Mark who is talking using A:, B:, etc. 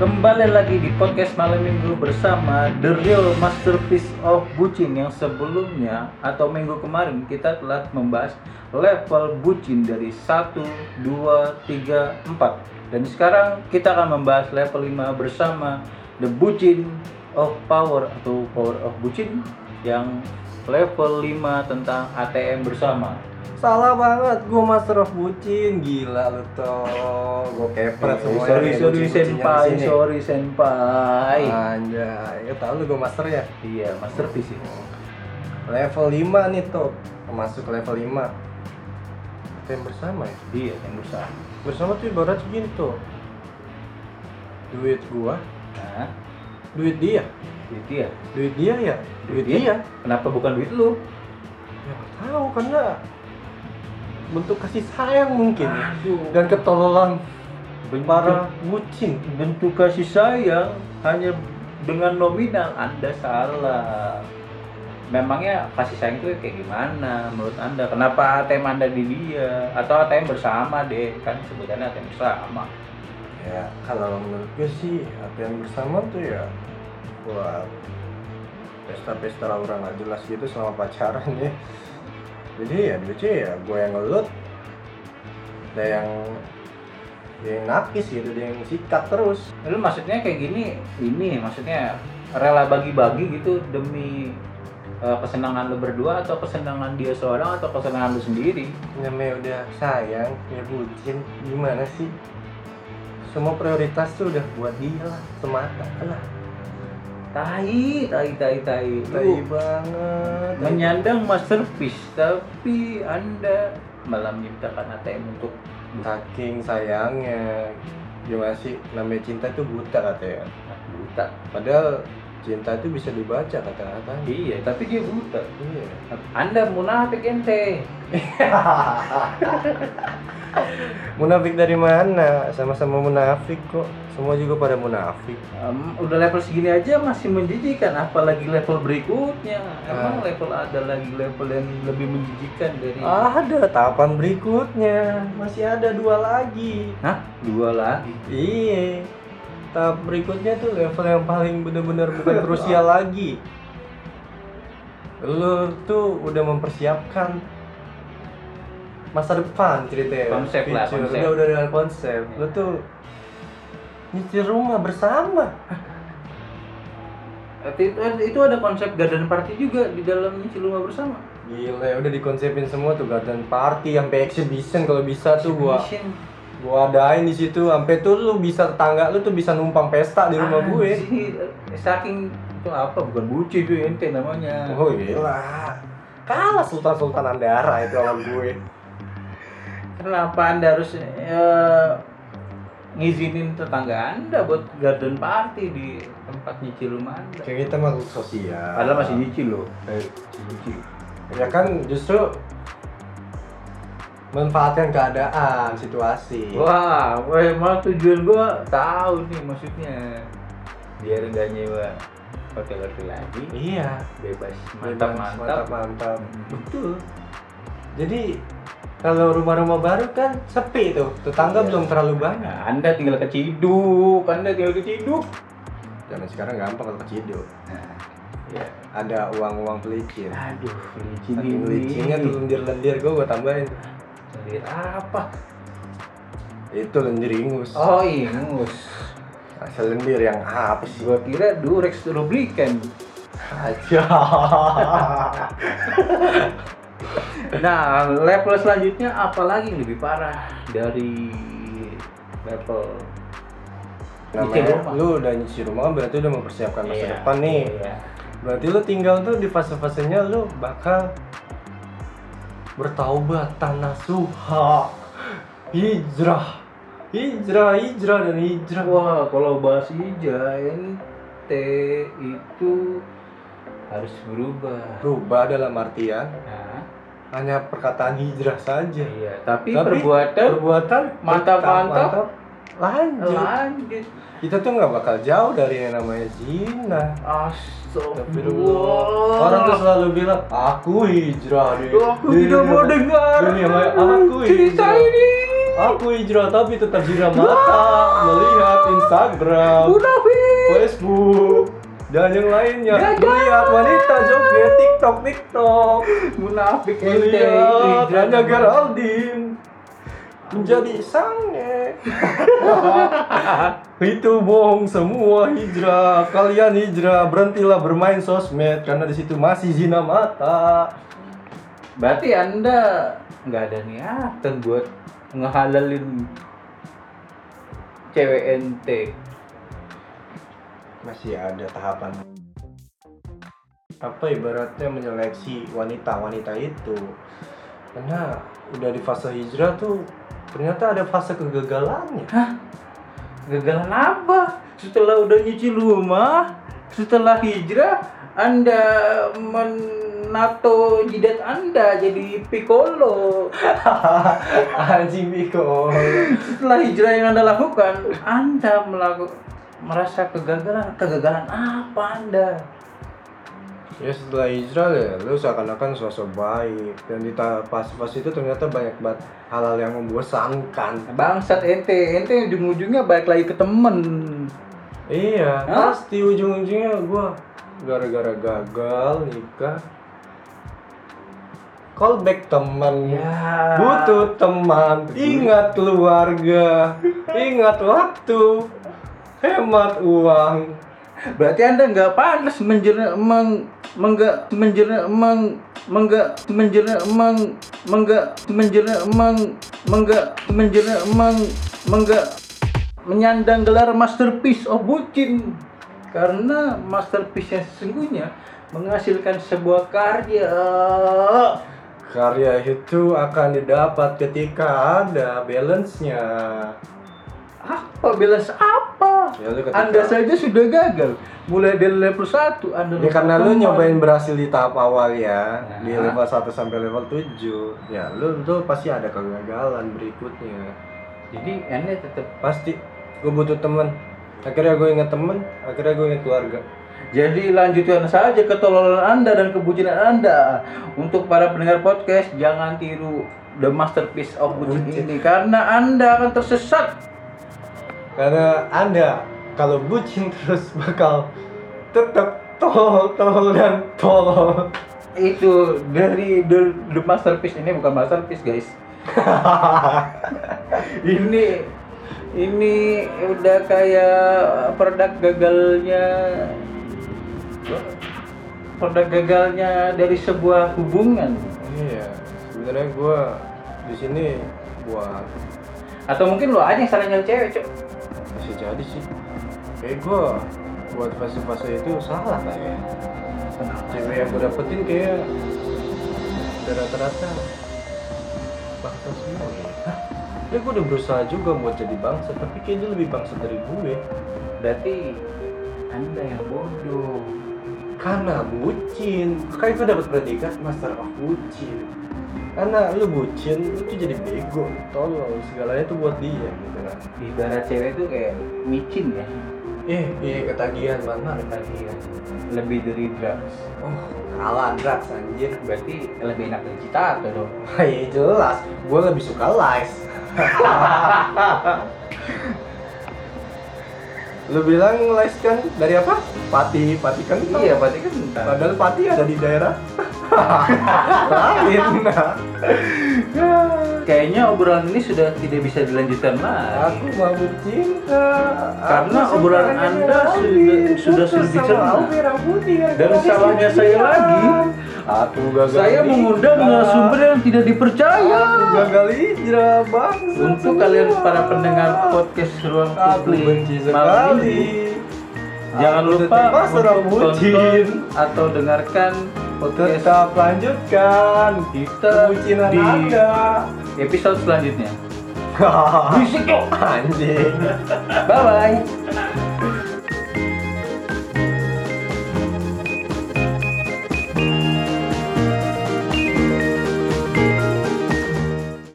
A: Kembali lagi di podcast malam minggu bersama The Real Masterpiece of Bucin yang sebelumnya atau minggu kemarin kita telah membahas level bucin dari 1, 2, 3, 4 dan sekarang kita akan membahas level 5 bersama The Bucin of Power atau Power of Bucin yang level 5 tentang ATM bersama
B: Salah banget, gue master of bucin, gila lu toh Gue kepret semua
A: Eh, sorry sorry senpai sorry senpai
B: Ah. Anjay, ya tau lu gue master ya
A: iya masterpiece ini
B: Level 5 nih tuh, masuk level 5 Kita yang bersama ya
A: Iya, yang bersama.
B: Bersama tuh ibarat segini tuh Duit gua,
A: Nah,
B: duit dia
A: duit dia.
B: Duit dia ya, duit, dia.
A: Kenapa bukan duit lu?
B: Ya gak tau, karena bentuk kasih sayang mungkin ya
A: Aduh.
B: Dan ketololan
A: Bentuk-
B: para bucin
A: bentuk kasih sayang hanya dengan nominal Anda salah. Memangnya kasih sayang itu kayak gimana menurut Anda? Kenapa ATM Anda di dia atau ATM bersama deh? Kan sebutannya ATM bersama.
B: ya kalau menurut gue sih apa yang bersama tuh ya buat pesta-pesta orang nggak jelas gitu selama pacaran ya jadi ya duitnya ya gue yang ngelut ada yang dia yang nakis gitu dia yang sikat terus
A: Lu maksudnya kayak gini, ini maksudnya rela bagi-bagi gitu demi eh, kesenangan lu berdua atau kesenangan dia seorang atau kesenangan lu sendiri?
B: namanya udah sayang ya bucin gimana sih semua prioritas tuh udah buat dia lah semata lah
A: Tai, tai, tai, tai.
B: tai
A: Lu
B: banget tai
A: menyandang masterpiece, tapi Anda malah menciptakan ATM untuk
B: saking sayangnya gimana sih namanya cinta itu buta katanya
A: buta.
B: padahal cinta itu bisa dibaca kata-katanya
A: Iya, tapi dia buta.
B: iya
A: Anda munafik ente.
B: munafik dari mana sama-sama munafik kok semua juga pada munafik
A: Em, udah level segini aja masih menjijikan, apalagi level berikutnya. Emang
B: Ah.
A: level ada lagi level yang lebih menjijikan dari
B: ada tahapan berikutnya masih ada dua lagi
A: Hah? Dua lagi.
B: iya tahap berikutnya tuh level yang paling bener-bener bukan krusial lagi lu tuh udah mempersiapkan masa depan ceritanya
A: Konsep lah,
B: Future.
A: konsep. Iya.
B: udah udah dengan konsep lu tuh nyicil rumah bersama
A: Itu, itu ada konsep garden party juga di dalam nyicil rumah bersama.
B: gila ya, udah dikonsepin semua tuh garden party sampai exhibition kalau bisa tuh gua
A: Exhibition.
B: gua adain di situ sampai tuh lu bisa tetangga lu tuh bisa numpang pesta di
A: Ah,
B: rumah gue
A: Anjir, eh, saking itu apa bukan buci itu ente namanya
B: Oh gila. Kalah Sultan Sultan Andara itu sama gue.
A: kenapa anda harus eh, ngizinin tetangga anda buat garden party di tempat nyicil rumah anda
B: Kayak kita masuk sosial.
A: padahal masih nyicil loh eh, masih nyicil
B: Ya kan justru manfaatkan keadaan, situasi.
A: wah weh malah tujuan gua tahu nih maksudnya biar nggak nyewa hotel hotel lagi
B: Iya.
A: bebas mantap mantap,
B: mantap, mantap.
A: Hmm.
B: Betul. Jadi kalau rumah-rumah baru kan sepi tuh, tetangga
A: Iya.
B: belum terlalu banyak.
A: Nah, anda tinggal keciduk anda tinggal keciduk
B: Zaman sekarang gampang kalau kecil.
A: nah, ya
B: Ada uang-uang pelicin.
A: Aduh, licin
B: Saking
A: ini.
B: licinnya tuh lendir-lendir gue gue tambahin.
A: Lihat apa?
B: Itu lendir ingus.
A: Oh, ingus.
B: Asal lendir yang apa sih?
A: Gua kira Durex Rublikan.
B: aja
A: Nah, level selanjutnya apalagi yang lebih parah dari level
B: namanya lu udah nyuci rumah kan berarti udah mempersiapkan masa
A: Iya,
B: depan nih
A: iya.
B: berarti lu tinggal tuh di fase-fasenya lu bakal bertaubat tanah suha hijrah hijrah hijrah dan hijrah
A: Wah, kalau bahas hijau ente itu harus berubah.
B: berubah dalam artian
A: Nah,
B: hanya perkataan hijrah saja
A: iya, tapi,
B: Tapi
A: perbuatan
B: perbuatan
A: Mantap,
B: tetap
A: mantap.
B: lanjut
A: lanjut.
B: kita tuh nggak bakal jauh dari yang namanya zina
A: Astagfirullah.
B: Orang tuh selalu bilang, aku hijrah deh.
A: Iya, Aku tidak mau dengar
B: Dunia maya, aku
A: cerita
B: hijrah.
A: ini.
C: Aku hijrah tapi tetap hijrah mata melihat Instagram,
A: Munafik.
C: Facebook, dan yang lainnya.
A: Gagal.
C: Melihat wanita joget TikTok TikTok,
A: Munafik ente.
C: melihat
A: Hijrah
C: Anya
A: mata.
C: Geraldine menjadi sange. Itu bohong semua hijrah. Kalian hijrah berhentilah bermain sosmed karena di situ masih zina mata.
A: Berarti Anda nggak ada niatan buat ngehalalin cewek ente.
B: masih ada tahapan apa ibaratnya menyeleksi wanita-wanita itu karena udah di fase hijrah tuh ternyata ada fase kegagalannya
A: Kegagalan apa? Setelah udah nyuci rumah, setelah hijrah, Anda menato jidat Anda jadi piccolo.
B: anjing Miko
A: Setelah hijrah yang Anda lakukan, Anda melaku- merasa kegagalan. Kegagalan apa Anda?
B: ya setelah hijrah ya lu seakan-akan sosok baik dan di ta- pas-pas itu ternyata banyak banget hal-hal yang membosankan
A: Bangsat ente, ente ujung-ujungnya balik lagi ke temen.
B: iya
A: Hah?
B: pasti ujung-ujungnya gua gara-gara gagal nikah callback teman
A: Ya.
B: Butuh teman, ingat keluarga, ingat waktu, hemat uang.
A: Berarti Anda nggak pantas menjerne meng mengga menjerne meng mengga menjerne meng mengga menjerne meng mengga menjerne meng mengga menyandang gelar masterpiece of bucin karena masterpiece yang sesungguhnya menghasilkan sebuah karya
B: Karya itu akan didapat ketika ada balance-nya.
A: apa belas apa
B: Ya, lu ketika-
A: anda saja sudah gagal mulai dari level 1 anda
B: Ini
A: level
B: Ya, karena lu
A: teman.
B: nyobain berhasil di tahap awal ya, di
A: Nah.
B: level 1 sampai level 7. Ya, lu tuh pasti ada kegagalan berikutnya.
A: jadi anda tetap
B: Pasti gue butuh teman. Akhirnya gue inget temen, akhirnya gue inget keluarga.
A: Jadi lanjutkan saja ketololan Anda dan kebucinan Anda. Untuk para pendengar podcast, jangan tiru the masterpiece of bucin ini karena Anda akan tersesat.
B: Karena Anda kalau bucin terus bakal tetap tol tol dan tol.
A: Itu dari the, the masterpiece ini bukan masterpiece, guys. Ini ini udah kayak produk gagalnya produk gagalnya dari sebuah hubungan
B: iya, sebenarnya gua di sini buat
A: atau mungkin lo aja yang salah nyari cewek Cok.
B: bisa jadi sih. Kayak gua buat fase-fase itu salah ya. kayaknya.
A: Nah,
B: Cewek yang gua dapetin kayak udah rata-rata bangsa semua. ya. Hah? Ini gua udah berusaha juga buat jadi bangsa, tapi kayaknya dia lebih bangsa dari gue.
A: Berarti Anda yang bodoh.
B: karena bucin makanya gue dapat predikat master of bucin karena lu bucin lu tuh jadi bego tolong segalanya tuh buat dia gitu kan
A: Ibarat cewek itu kayak micin ya,
B: eh iya ketagihan mana
A: ketagihan. Lebih dari drugs.
B: oh kalah drugs anjir
A: Berarti lebih enak dari citato dong.
B: Wah, iya jelas gue lebih suka lies lu bilang lies kan dari apa pati pati kan
A: Iya, berarti kan entar.
B: padahal pati ada di daerah lain nah.
A: Kayaknya obrolan ini sudah tidak bisa dilanjutkan lagi.
B: Aku mabuk cinta.
A: Karena
B: Aku
A: obrolan
B: sukanya
A: Anda
B: merah
A: sudah-
B: putih.
A: sudah sulit
B: Putus sama
A: dicerna.
B: Aku merah putih, aku
A: Dan
B: habis
A: salahnya saya
B: cinta.
A: lagi.
B: Aku gagal.
A: Saya
B: nikah.
A: mengundang narasumber yang tidak dipercaya.
B: Aku gagal hijrah bangsa.
A: Untuk
B: semua.
A: kalian para pendengar podcast ruang
B: Aku
A: publik
B: benci
A: malam
B: sekali.
A: ini, jangan
B: Aku
A: lupa
B: tetap
A: untuk
B: orang bucin.
A: tonton atau dengarkan podcast
B: Tetap lanjutkan
A: kita
B: kebucinan
A: di
B: Anda.
A: episode selanjutnya.
B: Anjing.
A: Bye bye.